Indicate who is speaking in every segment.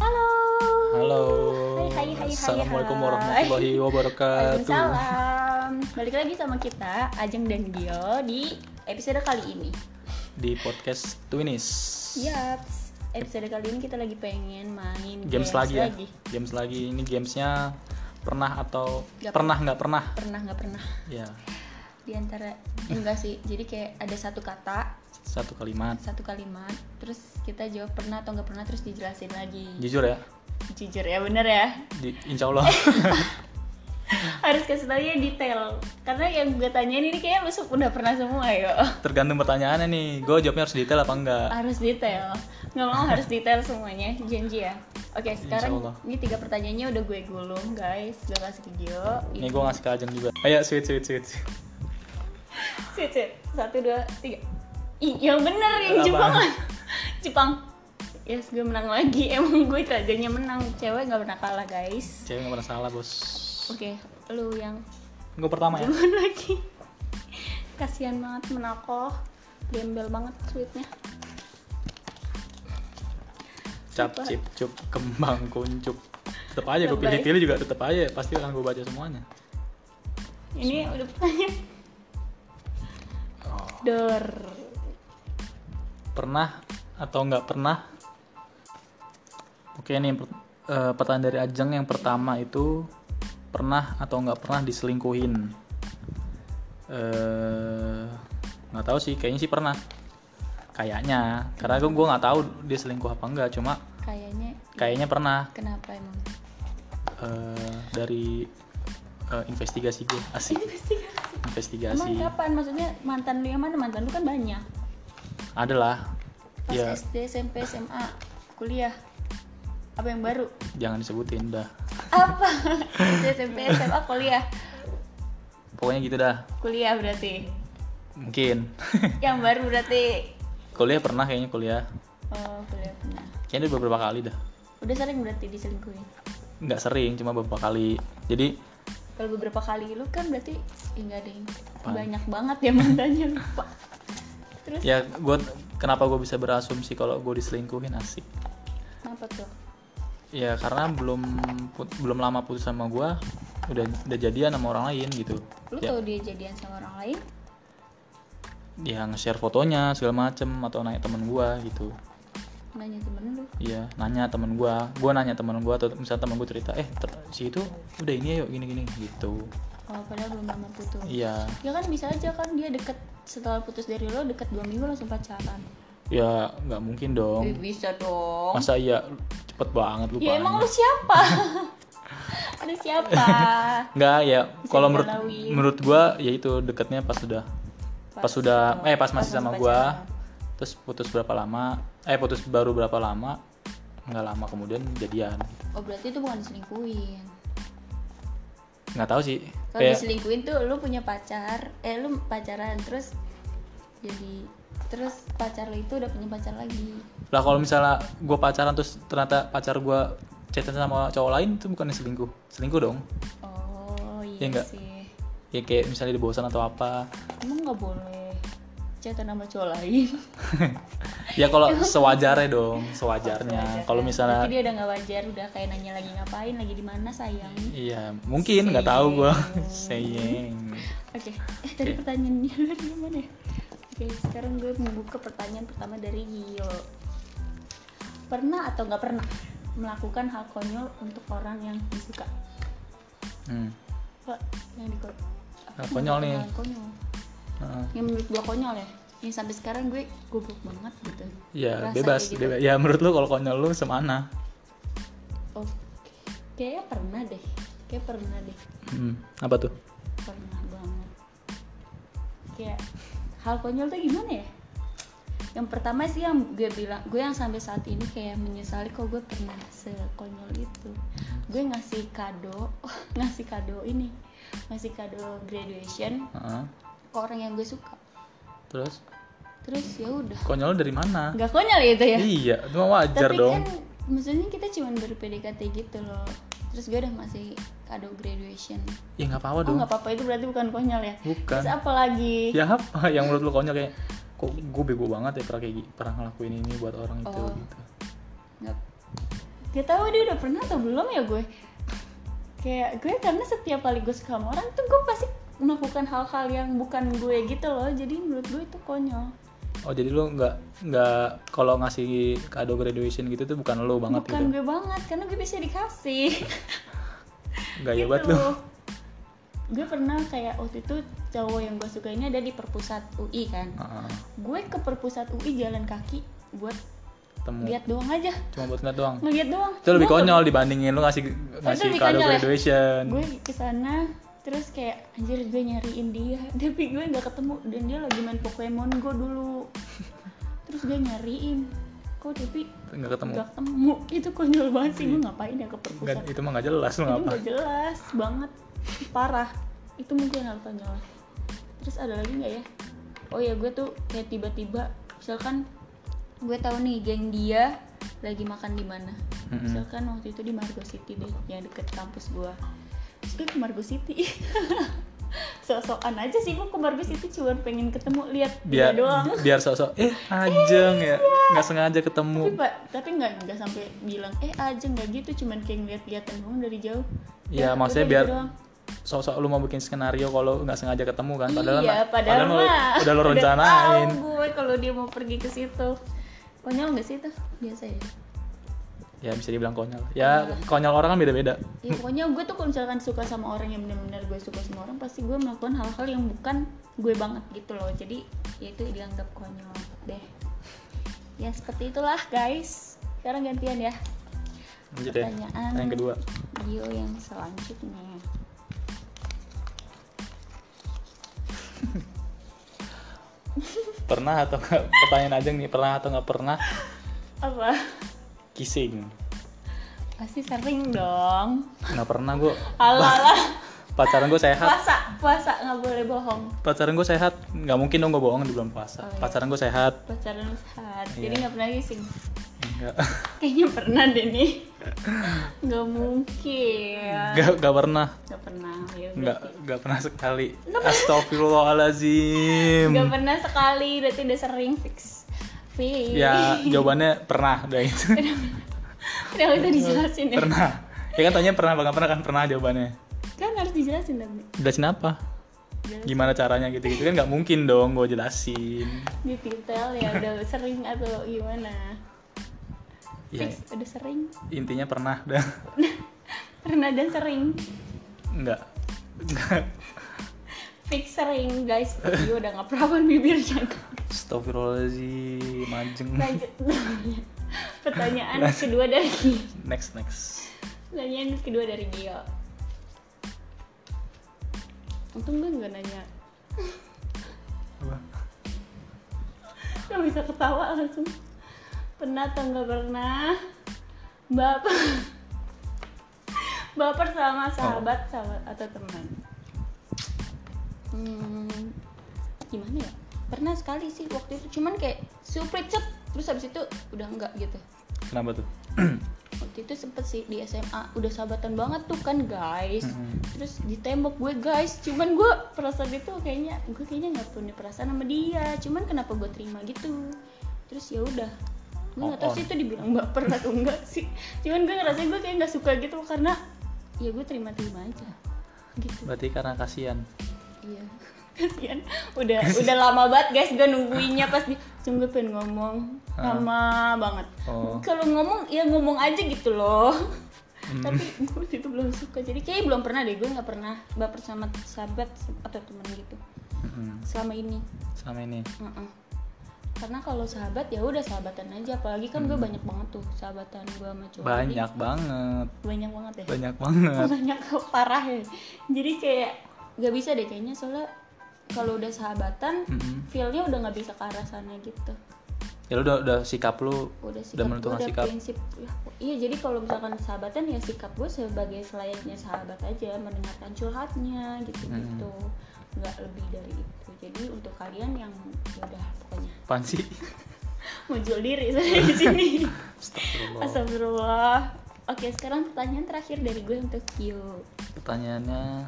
Speaker 1: Halo.
Speaker 2: Halo.
Speaker 1: Hai, hai, hai, hai,
Speaker 2: Assalamualaikum
Speaker 1: hai.
Speaker 2: warahmatullahi wabarakatuh.
Speaker 1: Waalaikumsalam. Balik lagi sama kita Ajeng dan Gio di episode kali ini.
Speaker 2: Di podcast Twinis.
Speaker 1: Iya, Yaps. Episode kali ini kita lagi pengen main
Speaker 2: Games, lagi ya. Games lagi. Ini gamesnya pernah atau
Speaker 1: Nggak
Speaker 2: pernah nggak pernah?
Speaker 1: Pernah nggak pernah?
Speaker 2: Ya,
Speaker 1: Di antara enggak sih. Jadi kayak ada satu kata,
Speaker 2: satu kalimat.
Speaker 1: satu kalimat, terus kita jawab pernah atau nggak pernah terus dijelasin lagi.
Speaker 2: Jujur ya.
Speaker 1: Jujur ya, bener ya.
Speaker 2: Di, insya Allah.
Speaker 1: harus kasih tau ya detail karena yang gue tanyain ini kayaknya masuk udah pernah semua ya. yo
Speaker 2: Tergantung pertanyaannya nih. Gue jawabnya harus detail apa enggak?
Speaker 1: harus detail nggak mau harus detail semuanya janji ya oke sekarang
Speaker 2: Allah.
Speaker 1: ini tiga pertanyaannya udah gue gulung guys gue kasih ke Gio
Speaker 2: Ini gue ngasih ke Ajeng juga. Ayo, sweet, sweet, sweet.
Speaker 1: Sip, sip. satu dua tiga Ih, yang bener yang
Speaker 2: Apa?
Speaker 1: Jepang Jepang yes gue menang lagi emang gue rajanya menang cewek nggak pernah kalah guys
Speaker 2: Cewek nggak pernah salah, bos.
Speaker 1: oke lu yang
Speaker 2: Gue pertama ya.
Speaker 1: duluan lagi kasihan banget menakoh gembel banget tweetnya
Speaker 2: Cap,
Speaker 1: Siapa?
Speaker 2: cip, cup, kembang, kuncup. Tetep aja gue
Speaker 1: Lebay.
Speaker 2: pilih-pilih juga tetep aja. Pasti akan gue baca semuanya.
Speaker 1: Ini udah pertanyaan.
Speaker 2: Oh.
Speaker 1: Dor.
Speaker 2: pernah atau nggak pernah oke nih per- eh, pertanyaan dari Ajeng yang pertama itu pernah atau nggak pernah diselingkuhin eh nggak tahu sih kayaknya sih pernah kayaknya karena gue gue nggak tahu dia selingkuh apa enggak cuma
Speaker 1: Kayaknya
Speaker 2: kayaknya pernah
Speaker 1: kenapa emang?
Speaker 2: eh, dari eh, investigasi gue asik
Speaker 1: Emang
Speaker 2: investigasi
Speaker 1: kapan? Maksudnya mantan lu yang mana? Mantan lu kan banyak.
Speaker 2: adalah
Speaker 1: Pas
Speaker 2: ya
Speaker 1: SD, SMP, SMA, kuliah. Apa yang baru?
Speaker 2: jangan disebutin dah
Speaker 1: Apa? SD, SMP, SMA, kuliah.
Speaker 2: pokoknya gitu dah
Speaker 1: Kuliah berarti.
Speaker 2: mungkin
Speaker 1: Yang baru berarti.
Speaker 2: kuliah pernah kayaknya kuliah
Speaker 1: Oh, kuliah pernah.
Speaker 2: kayaknya udah beberapa kali dah
Speaker 1: Udah sering berarti diselingkuhin.
Speaker 2: nggak sering cuma beberapa kali jadi
Speaker 1: Kalau beberapa kali lu kan berarti eh, nggak ada yang
Speaker 2: Apaan?
Speaker 1: banyak banget ya mantannya lupa. Terus
Speaker 2: ya gue kenapa gue bisa berasumsi kalau gue diselingkuhin asik
Speaker 1: kenapa tuh?
Speaker 2: ya karena belum put- belum lama putus sama gue udah udah jadian sama orang lain gitu
Speaker 1: Lu
Speaker 2: ya,
Speaker 1: tau dia jadian sama orang lain?
Speaker 2: dia ya, nge-share fotonya segala macem atau nanya temen gue gitu
Speaker 1: nanya temen lu
Speaker 2: Iya, nanya temen gue, gue nanya temen gue atau misal temen gue cerita, eh ter- si itu udah ini yuk gini-gini gitu.
Speaker 1: oh padahal belum lama putus
Speaker 2: Iya,
Speaker 1: ya kan bisa aja kan dia deket setelah putus dari lo deket dua minggu langsung pacaran
Speaker 2: ya nggak mungkin dong.
Speaker 1: Eh, bisa dong
Speaker 2: Masa iya cepet banget lupa.
Speaker 1: ya emang lu siapa lu siapa
Speaker 2: Enggak ya,
Speaker 1: Bisa
Speaker 2: kalau menurut
Speaker 1: digalauin.
Speaker 2: menurut gua ya itu deketnya pas sudah pas, sudah eh pas masih sama gua.
Speaker 1: pacaran.
Speaker 2: Terus putus berapa lama? Eh putus baru berapa lama? Nggak lama kemudian jadian.
Speaker 1: oh berarti itu bukan diselingkuhin
Speaker 2: Nggak tahu sih.
Speaker 1: kalau
Speaker 2: Kayak
Speaker 1: diselingkuhin tuh lu punya pacar eh lu pacaran terus jadi terus pacar lu itu udah punya pacar lagi
Speaker 2: lah kalau misalnya gua pacaran terus ternyata pacar gua chatan sama cowok lain itu bukan selingkuh. Selingkuh dong.
Speaker 1: oh iya
Speaker 2: Ya nggak?
Speaker 1: sih
Speaker 2: Ya kayak misalnya dia bosan atau apa.
Speaker 1: emang nggak boleh chatan sama cowok lain
Speaker 2: Ya kalau sewajarnya dong, Oh, sewajarnya.
Speaker 1: Wajar
Speaker 2: Iya, Kalau
Speaker 1: ya.
Speaker 2: misalnya
Speaker 1: Berarti dia udah nggak wajar udah kayak nanya lagi ngapain lagi di mana sayang
Speaker 2: Iya, mungkin nggak tahu gua. Sayang.
Speaker 1: oke eh tadi pertanyaannya dari mana ya oke sekarang gue membuka pertanyaan pertama dari Gio pernah atau nggak pernah melakukan hal konyol untuk orang yang disuka
Speaker 2: Hmm.
Speaker 1: Apa yang di
Speaker 2: Hal konyol nih.
Speaker 1: Hal konyol
Speaker 2: Heeh.
Speaker 1: yang menurut gue konyol ya yang sampai sekarang gue goblok banget gitu
Speaker 2: Ya
Speaker 1: Rasa
Speaker 2: bebas,
Speaker 1: kayak gitu.
Speaker 2: bebas. Ya menurut lu kalau konyol lu semana?
Speaker 1: oh kayaknya pernah deh kayak pernah deh
Speaker 2: Hmm, apa tuh?
Speaker 1: pernah banget kayak hal konyol tuh gimana ya yang pertama sih yang gue bilang gue yang sampai saat ini kayak menyesali kok gue pernah sekonyol itu gue ngasih kado ngasih kado ini ngasih kado graduation
Speaker 2: Heeh.
Speaker 1: ke orang yang gue suka
Speaker 2: Terus
Speaker 1: terus ya udah
Speaker 2: konyol lu dari mana?
Speaker 1: nggak konyol ya itu ya
Speaker 2: Iya, itu mah Iya, wajar
Speaker 1: tapi
Speaker 2: dong.
Speaker 1: kan maksudnya kita cuma baru PDKT gitu loh terus gue udah masih kado graduation
Speaker 2: ya nggak apa-apa
Speaker 1: oh
Speaker 2: dong
Speaker 1: nggak apa-apa itu berarti bukan konyol ya
Speaker 2: bukan
Speaker 1: terus apa lagi
Speaker 2: ya apa yang menurut lu konyol kayak kok gue bego banget ya pernah kayak gi- pernah ngelakuin ini buat orang itu
Speaker 1: Oh.
Speaker 2: gitu
Speaker 1: nggak gak tau dia udah pernah atau belum ya gue kayak gue karena setiap kali gue suka sama orang tuh gue pasti melakukan hal-hal yang bukan gue gitu loh jadi menurut gue itu konyol
Speaker 2: oh jadi lu nggak nggak kalau ngasih kado graduation gitu tuh bukan lu banget
Speaker 1: bukan
Speaker 2: gitu
Speaker 1: gue banget karena gue bisa dikasih
Speaker 2: nggak
Speaker 1: gitu
Speaker 2: hebat lu
Speaker 1: gue pernah kayak waktu itu cowok yang gue suka ini ada di perpusat UI kan
Speaker 2: Heeh.
Speaker 1: gue ke perpusat UI jalan kaki buat
Speaker 2: temu
Speaker 1: lihat doang aja
Speaker 2: cuma buat ngeliat doang
Speaker 1: ngeliat doang
Speaker 2: Hmm. itu lebih
Speaker 1: Gue nggak-
Speaker 2: konyol dibandingin lu ngasih ngasih
Speaker 1: lebih
Speaker 2: kado
Speaker 1: konyol ya?
Speaker 2: graduation
Speaker 1: gue ke sana terus kayak anjir gue nyariin dia tapi gue nggak ketemu dan dia lagi main Pokemon gue dulu terus gue nyariin kok tapi
Speaker 2: nggak ketemu Iya.
Speaker 1: nggak ketemu itu konyol banget sih gue ngapain ya ke
Speaker 2: Nggak,
Speaker 1: perpusat itu
Speaker 2: itu mah nggak jelas lu ngapa
Speaker 1: nggak jelas banget parah itu mungkin hal konyol terus ada lagi nggak ya oh ya gue tuh kayak tiba-tiba misalkan gue tahu nih geng dia lagi makan di mana
Speaker 2: Mm-mm.
Speaker 1: misalkan waktu itu di Margo City deh yang deket kampus gue terus gue ke Margo City sok-sokan aja sih gue ke Margo City cuma pengen ketemu lihat dia
Speaker 2: biar
Speaker 1: Iya doang
Speaker 2: Iya, biar sosok eh ajeng ya nggak sengaja ketemu
Speaker 1: tapi pak tapi nggak nggak sampai bilang eh aja nggak gitu cuman kayak ngeliat-liatan doang dari jauh
Speaker 2: ya
Speaker 1: udah
Speaker 2: maksudnya
Speaker 1: gitu
Speaker 2: biar
Speaker 1: doang.
Speaker 2: sosok lu mau bikin skenario kalau nggak sengaja ketemu kan padahal
Speaker 1: iya, padahal,
Speaker 2: lu-
Speaker 1: mah
Speaker 2: udah lu rencanain
Speaker 1: tahu gue kalau dia mau pergi ke situ konyol nggak sih itu biasa ya
Speaker 2: ya bisa dibilang konyol ya konyol orang kan beda-beda
Speaker 1: Ya, pokoknya gue tuh kalau misalkan suka sama orang yang benar-benar gue suka sama orang pasti gue melakukan hal-hal yang bukan gue banget gitu loh jadi ya itu dianggap konyol deh ya seperti itulah guys sekarang gantian ya
Speaker 2: lanjut ya
Speaker 1: Pertanyaan.
Speaker 2: yang kedua
Speaker 1: Dio yang selanjutnya
Speaker 2: pernah atau nggak pertanyaan aja nih pernah atau nggak pernah
Speaker 1: apa
Speaker 2: kissing
Speaker 1: pasti sering dong
Speaker 2: nggak pernah gue
Speaker 1: alah alah
Speaker 2: pacaran gue sehat
Speaker 1: puasa puasa nggak boleh bohong
Speaker 2: pacaran gue sehat nggak mungkin dong gue bohong di bulan puasa
Speaker 1: Oh, iya.
Speaker 2: pacaran gue sehat
Speaker 1: pacaran sehat jadi
Speaker 2: Iya.
Speaker 1: nggak pernah kissing
Speaker 2: nggak
Speaker 1: kayaknya pernah deh nih nggak mungkin
Speaker 2: nggak nggak pernah
Speaker 1: nggak pernah ya udah
Speaker 2: nggak
Speaker 1: sih.
Speaker 2: nggak pernah sekali Astagfirullahalazim
Speaker 1: nggak pernah sekali berarti udah sering fix fix
Speaker 2: ya jawabannya pernah udah itu
Speaker 1: udah nggak usah dijelasin ya
Speaker 2: pernah ya kan tanya pernah apa nggak pernah kan pernah jawabannya
Speaker 1: kan harus dijelasin tapi
Speaker 2: jelasin apa
Speaker 1: Jelasin.
Speaker 2: gimana caranya gitu gitu kan nggak mungkin dong gue jelasin
Speaker 1: detail ya udah sering atau gimana
Speaker 2: ya
Speaker 1: fix udah sering
Speaker 2: intinya pernah udah
Speaker 1: pernah dan sering
Speaker 2: nggak
Speaker 1: fix sering guys dia udah nggak perawan bibirnya
Speaker 2: Astagfirullahaladzim majeng
Speaker 1: lanjut pertanyaan
Speaker 2: Nah,
Speaker 1: kedua dari Gio.
Speaker 2: next next
Speaker 1: pertanyaan kedua dari Gio untung gue nggak nanya
Speaker 2: apa
Speaker 1: Gak bisa ketawa langsung Pernah atau nggak pernah Baper Baper sama sahabat, sahabat atau teman hmm, Gimana ya? Pernah sekali sih waktu itu Cuman kayak super cep Terus habis itu udah enggak gitu
Speaker 2: kenapa tuh
Speaker 1: Waktu itu sempet sih di SMA Udah sahabatan banget tuh kan guys
Speaker 2: Mm-mm.
Speaker 1: Terus ditembak gue guys Cuman gue perasaan itu kayaknya Gue kayaknya gak punya perasaan sama dia Cuman kenapa gue terima gitu Terus ya udah Gue gak tau
Speaker 2: On.
Speaker 1: sih itu dibilang baper atau enggak sih Cuman gue ngerasa gue kayak gak suka gitu Karena ya gue terima-terima aja Gitu
Speaker 2: berarti karena kasihan
Speaker 1: Iya kasihan udah udah lama banget guys gue nungguinnya pas di Cuma gue pengen ngomong
Speaker 2: Ah.
Speaker 1: lama banget
Speaker 2: Oh.
Speaker 1: kalau ngomong ya ngomong aja gitu loh
Speaker 2: Hmm.
Speaker 1: tapi gue itu belum suka jadi kayak belum pernah deh gue nggak pernah baper sama sahabat atau teman gitu
Speaker 2: Mm-mm.
Speaker 1: selama ini
Speaker 2: sama ini
Speaker 1: Mm-mm. karena kalau sahabat ya udah sahabatan aja apalagi kan gue banyak banget tuh sahabatan gue sama cowok
Speaker 2: Hmm. banyak banget
Speaker 1: banyak banget ya
Speaker 2: banyak banget
Speaker 1: banyak parah ya jadi kayak nggak bisa deh kayaknya soalnya kalau udah sahabatan
Speaker 2: Mm-mm.
Speaker 1: feelnya udah nggak bisa ke arah sana gitu
Speaker 2: ya lu udah, udah sikap lu
Speaker 1: udah
Speaker 2: udah
Speaker 1: sikap gua
Speaker 2: menentukan
Speaker 1: udah
Speaker 2: sikap
Speaker 1: prinsip ya, iya jadi kalau misalkan sahabatan ya sikap gue sebagai selayaknya sahabat aja mendengarkan curhatnya gitu gitu
Speaker 2: Hmm.
Speaker 1: nggak lebih dari itu jadi untuk kalian yang ya udah pokoknya
Speaker 2: apaan sih
Speaker 1: mau jual diri saya di sini
Speaker 2: Astagfirullah.
Speaker 1: astagfirullah Oke, sekarang pertanyaan terakhir dari gue untuk Kyo.
Speaker 2: Pertanyaannya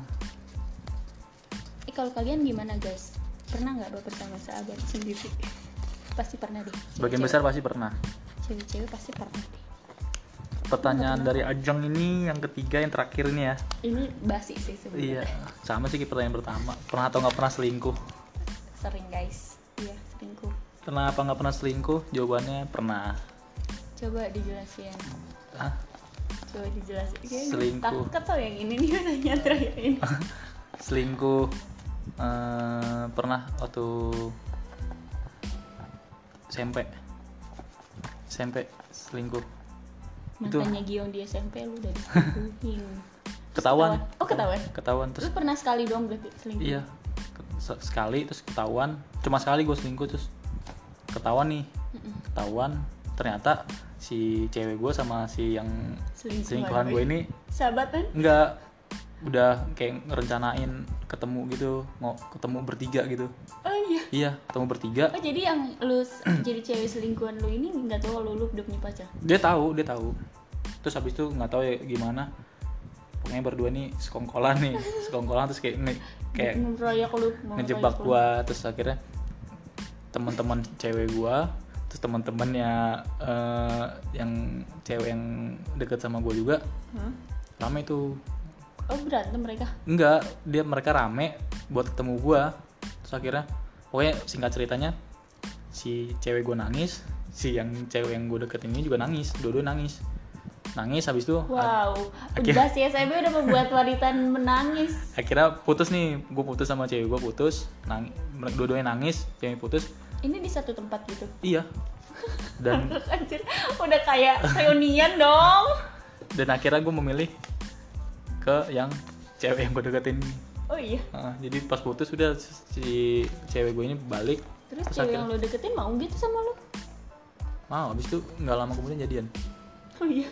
Speaker 1: Eh, kalau kalian gimana guys? Pernah nggak baper sama sahabat sendiri? Pasti pernah deh.
Speaker 2: sebagian
Speaker 1: Cewek-cewek-
Speaker 2: besar pasti pernah.
Speaker 1: Cewek-cewek pasti pernah deh.
Speaker 2: Pertanyaan dari Ajeng ini yang ketiga yang terakhir ini ya.
Speaker 1: Ini basi sih sebenarnya.
Speaker 2: Iya, sama sih kayak pertanyaan pertama. Pernah atau nggak pernah selingkuh?
Speaker 1: Sering guys. Iya, selingkuh.
Speaker 2: Pernah apa nggak pernah selingkuh? Jawabannya pernah.
Speaker 1: Coba dijelasin.
Speaker 2: Hah?
Speaker 1: Coba dijelasin. Kayaknya
Speaker 2: Selingkuh.
Speaker 1: Takut tau yang ini nih nanya terakhir ini.
Speaker 2: Selingkuh eh, pernah waktu SMP. SMP selingkuh. Itu.
Speaker 1: Mantannya Gion di SMP lu udah diselingkuhin. Terus
Speaker 2: Ketahuan.
Speaker 1: Oh, ketahuan.
Speaker 2: Ketahuan
Speaker 1: Lu
Speaker 2: terus
Speaker 1: pernah sekali doang berarti selingkuh?
Speaker 2: iya ke- se- sekali terus ketahuan. Cuma sekali gue selingkuh terus ketahuan nih.
Speaker 1: Mm-mm.
Speaker 2: Ketahuan ternyata si cewek gue sama si yang
Speaker 1: Selingkuhan
Speaker 2: selingkuhan
Speaker 1: gue.
Speaker 2: gue ini
Speaker 1: Sahabatan?
Speaker 2: Enggak, udah kayak ngerencanain ketemu gitu, mau ketemu bertiga gitu.
Speaker 1: Oh iya.
Speaker 2: Iya, ketemu bertiga.
Speaker 1: Oh jadi yang lu s- jadi cewek selingkuhan lu ini nggak tahu kalau lu udah punya pacar?
Speaker 2: Dia tahu, dia tahu. Terus habis itu nggak tahu ya gimana. Pokoknya berdua nih sekongkolan nih, sekongkolan terus kayak nge- kayak
Speaker 1: ngeroyok lu, mau
Speaker 2: ngejebak
Speaker 1: ngeroyok lu.
Speaker 2: gua terus akhirnya teman-teman cewek gua terus teman-temannya eh, yang cewek yang deket sama gua juga
Speaker 1: gitu. Hah?
Speaker 2: rame tuh
Speaker 1: Oh berantem mereka?
Speaker 2: Enggak, dia mereka rame buat ketemu gua. Terus akhirnya pokoknya singkat ceritanya si cewek gua nangis, si yang cewek yang gua deketin ini juga nangis, dua-dua nangis. Nangis habis itu a-
Speaker 1: Wow, udah
Speaker 2: Akhirnya-
Speaker 1: si SMB udah membuat wanita menangis.
Speaker 2: akhirnya putus nih, gua putus sama cewek gua putus, nang mereka dua-duanya nangis, cewek putus.
Speaker 1: Ini di satu tempat gitu.
Speaker 2: Iya. Dan
Speaker 1: Anjir, udah kayak reunian dong.
Speaker 2: dan akhirnya gua memilih ke yang cewek yang gua deketin ini.
Speaker 1: Oh iya.
Speaker 2: Heeh, jadi pas putus udah si cewek gue ini balik
Speaker 1: Terus cewek yang lu deketin mau gitu sama lu?
Speaker 2: mau habis itu nggak lama kemudian jadian
Speaker 1: Oh iya.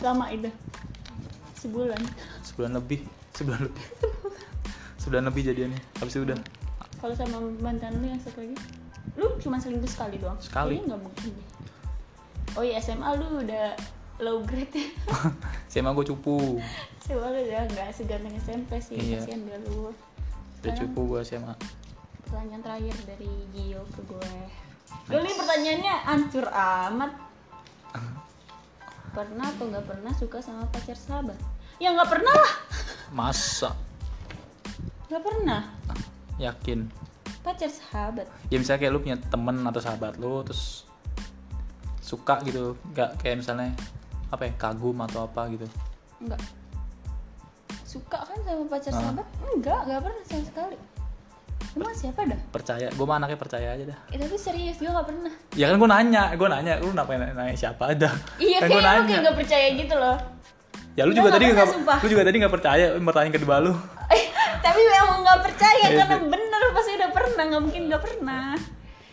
Speaker 1: Lama itu. Sebulan.
Speaker 2: sebulan lebih sebulan lebih sebulan lebih jadiannya habis itu udah
Speaker 1: Kalau sama mantan lu yang satu lagi? Lu cuma selingkuh sekali doang?
Speaker 2: Sekali.
Speaker 1: Kayaknya nggak mungkin deh. Oh iya SMA lu udah low grade ya.
Speaker 2: SMA gue cupu
Speaker 1: SMA lu udah nggak seganteng SMP sih.
Speaker 2: Iya.
Speaker 1: Kasihan dia lu.
Speaker 2: udah
Speaker 1: Sekarang
Speaker 2: cupu gue SMA
Speaker 1: pertanyaan terakhir dari Gio ke gue. Gue ini pertanyaannya hancur amat. Pernah atau nggak pernah suka sama pacar sahabat? Ya nggak pernah lah.
Speaker 2: masa
Speaker 1: Nggak pernah.
Speaker 2: yakin
Speaker 1: Pacar sahabat.
Speaker 2: ya misalnya kayak lu punya temen atau sahabat lu terus suka gitu nggak kayak misalnya apa ya kagum atau apa gitu
Speaker 1: Nggak. Suka kan sama pacar
Speaker 2: Ah.
Speaker 1: sahabat? Enggak, nggak pernah sama sekali. Emang siapa dah?
Speaker 2: percaya gue mah anaknya percaya aja dah
Speaker 1: Eh, tapi serius gue nggak pernah.
Speaker 2: ya kan gue nanya gue nanya lu kenapa nanya, nanya siapa ada
Speaker 1: Iya
Speaker 2: kan
Speaker 1: kayak
Speaker 2: gue
Speaker 1: lu
Speaker 2: nanya
Speaker 1: kayak nggak percaya gitu loh.
Speaker 2: ya lu
Speaker 1: Gua
Speaker 2: juga
Speaker 1: nggak
Speaker 2: tadi
Speaker 1: pernah,
Speaker 2: nggak
Speaker 1: sumpah.
Speaker 2: lu juga tadi nggak percaya lu bertanya kedua lu Ya
Speaker 1: tapi emang nggak percaya
Speaker 2: Iya,
Speaker 1: karena
Speaker 2: sih.
Speaker 1: bener pasti udah pernah nggak mungkin nggak pernah.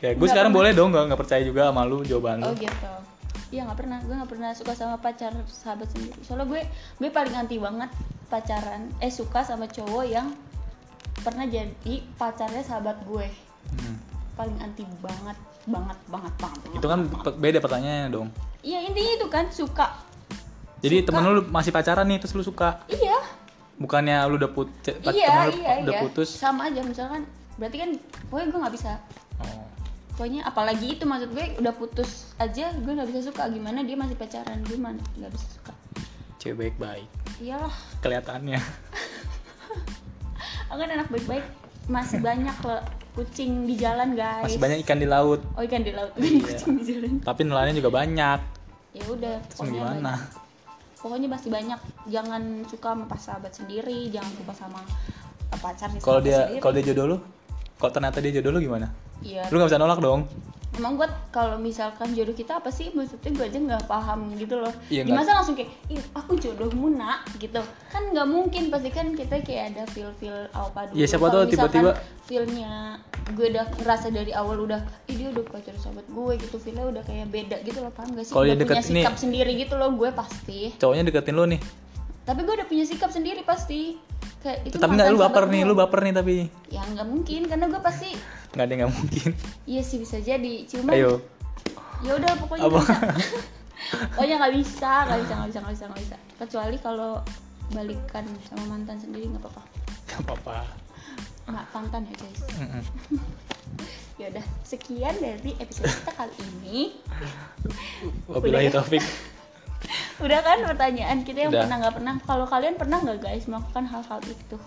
Speaker 2: ya gue
Speaker 1: Nggak
Speaker 2: sekarang
Speaker 1: pernah.
Speaker 2: boleh dong nggak nggak percaya juga sama lu jawaban lu
Speaker 1: Oh gitu. Iya nggak pernah, gue nggak pernah suka sama pacar sahabat sendiri. Soalnya gue gue paling anti banget pacaran, eh suka sama cowok yang pernah jadi pacarnya sahabat gue.
Speaker 2: Hmm.
Speaker 1: Paling anti banget, banget, banget, banget. banget.
Speaker 2: itu kan pe- beda pertanyaannya dong
Speaker 1: Iya intinya itu kan suka.
Speaker 2: Jadi temen lu masih pacaran nih terus lu suka
Speaker 1: Iya,
Speaker 2: bukannya lu udah put ce- pa-
Speaker 1: iya,
Speaker 2: temen lu
Speaker 1: iya,
Speaker 2: udah
Speaker 1: iya.
Speaker 2: putus.
Speaker 1: Sama aja misalkan, berarti kan, pokoknya gue nggak bisa.
Speaker 2: Oh.
Speaker 1: Pokoknya apalagi itu maksud gue udah putus aja, gue nggak bisa suka. Gimana dia masih pacaran, gue mana nggak bisa suka.
Speaker 2: Cewek baik-baik
Speaker 1: Iyalah.
Speaker 2: kelihatannya.
Speaker 1: Aku kan anak baik-baik masih banyak loh kucing di jalan guys.
Speaker 2: Masih banyak Iya. ikan di laut,
Speaker 1: Oh ikan di laut, banyak kucing di jalan.
Speaker 2: tapi nelayannya juga banyak.
Speaker 1: Ya udah.
Speaker 2: Terus mau
Speaker 1: pokoknya
Speaker 2: gimana?
Speaker 1: banyak- Pokoknya masih banyak. Jangan suka sama pas sahabat sendiri, jangan suka sama eh, pacar nih,
Speaker 2: Kalau
Speaker 1: sahabat
Speaker 2: dia
Speaker 1: sendiri.
Speaker 2: kalau dia jodoh lu, kalau ternyata dia jodoh lu gimana?
Speaker 1: Iya.
Speaker 2: Lu nggak bisa nolak dong.
Speaker 1: Emang gue kalau misalkan jodoh kita apa sih? Maksudnya gue aja nggak paham gitu loh. Di
Speaker 2: Iya, nggak-
Speaker 1: masa langsung kayak, Ih, aku jodohmu nak gitu. Kan nggak mungkin pasti kan kita kayak ada feel feel apa dulu.
Speaker 2: Iya,
Speaker 1: Kalau
Speaker 2: siapa tahu
Speaker 1: misalkan
Speaker 2: tiba-tiba-
Speaker 1: feelnya gue udah ngerasa dari awal udah, Ih, dia udah pacar sahabat gue gitu. Feelnya udah kayak beda gitu loh paham gak sih?
Speaker 2: Kalau
Speaker 1: udah
Speaker 2: dia deket
Speaker 1: punya sikap
Speaker 2: nih-
Speaker 1: sendiri gitu loh gue pasti.
Speaker 2: Cowoknya deketin lu nih.
Speaker 1: Tapi gue udah punya sikap sendiri pasti. Kayak itu
Speaker 2: tapi nggak
Speaker 1: mantan
Speaker 2: lu baper
Speaker 1: sahabat
Speaker 2: nih,
Speaker 1: gue.
Speaker 2: lu baper nih tapi
Speaker 1: Ya nggak mungkin karena gue pasti.
Speaker 2: nggak ada nggak mungkin.
Speaker 1: Iya sih bisa jadi. Cuman
Speaker 2: Ayo.
Speaker 1: ya udah pokoknya
Speaker 2: Apa?
Speaker 1: bisa pokoknya Oh iya, nggak bisa nggak bisa nggak bisa nggak bisa nggak bisa kecuali kalau balikan sama mantan sendiri nggak apa-apa
Speaker 2: Gak apa-apa.
Speaker 1: nggak tantan ya guys
Speaker 2: Mm-mm.
Speaker 1: ya udah sekian dari episode kita kali ini
Speaker 2: Wabillahi
Speaker 1: Udah.
Speaker 2: taufik.
Speaker 1: udah kan pertanyaan kita yang
Speaker 2: Udah.
Speaker 1: pernah nggak pernah kalau kalian pernah nggak guys melakukan hal-hal itu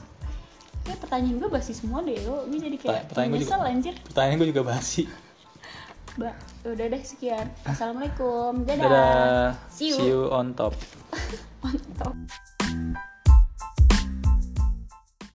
Speaker 1: ya pertanyaan gue basis semua deh lo gue jadi kayak
Speaker 2: Pertanyaan- pertanyaan gue juga-
Speaker 1: menyesal, anjir
Speaker 2: Pertanyaan gue juga basi.
Speaker 1: Ba, udah deh sekian assalamualaikum dadah,
Speaker 2: Dadah.
Speaker 1: See you.
Speaker 2: See you on top.
Speaker 1: Mantap.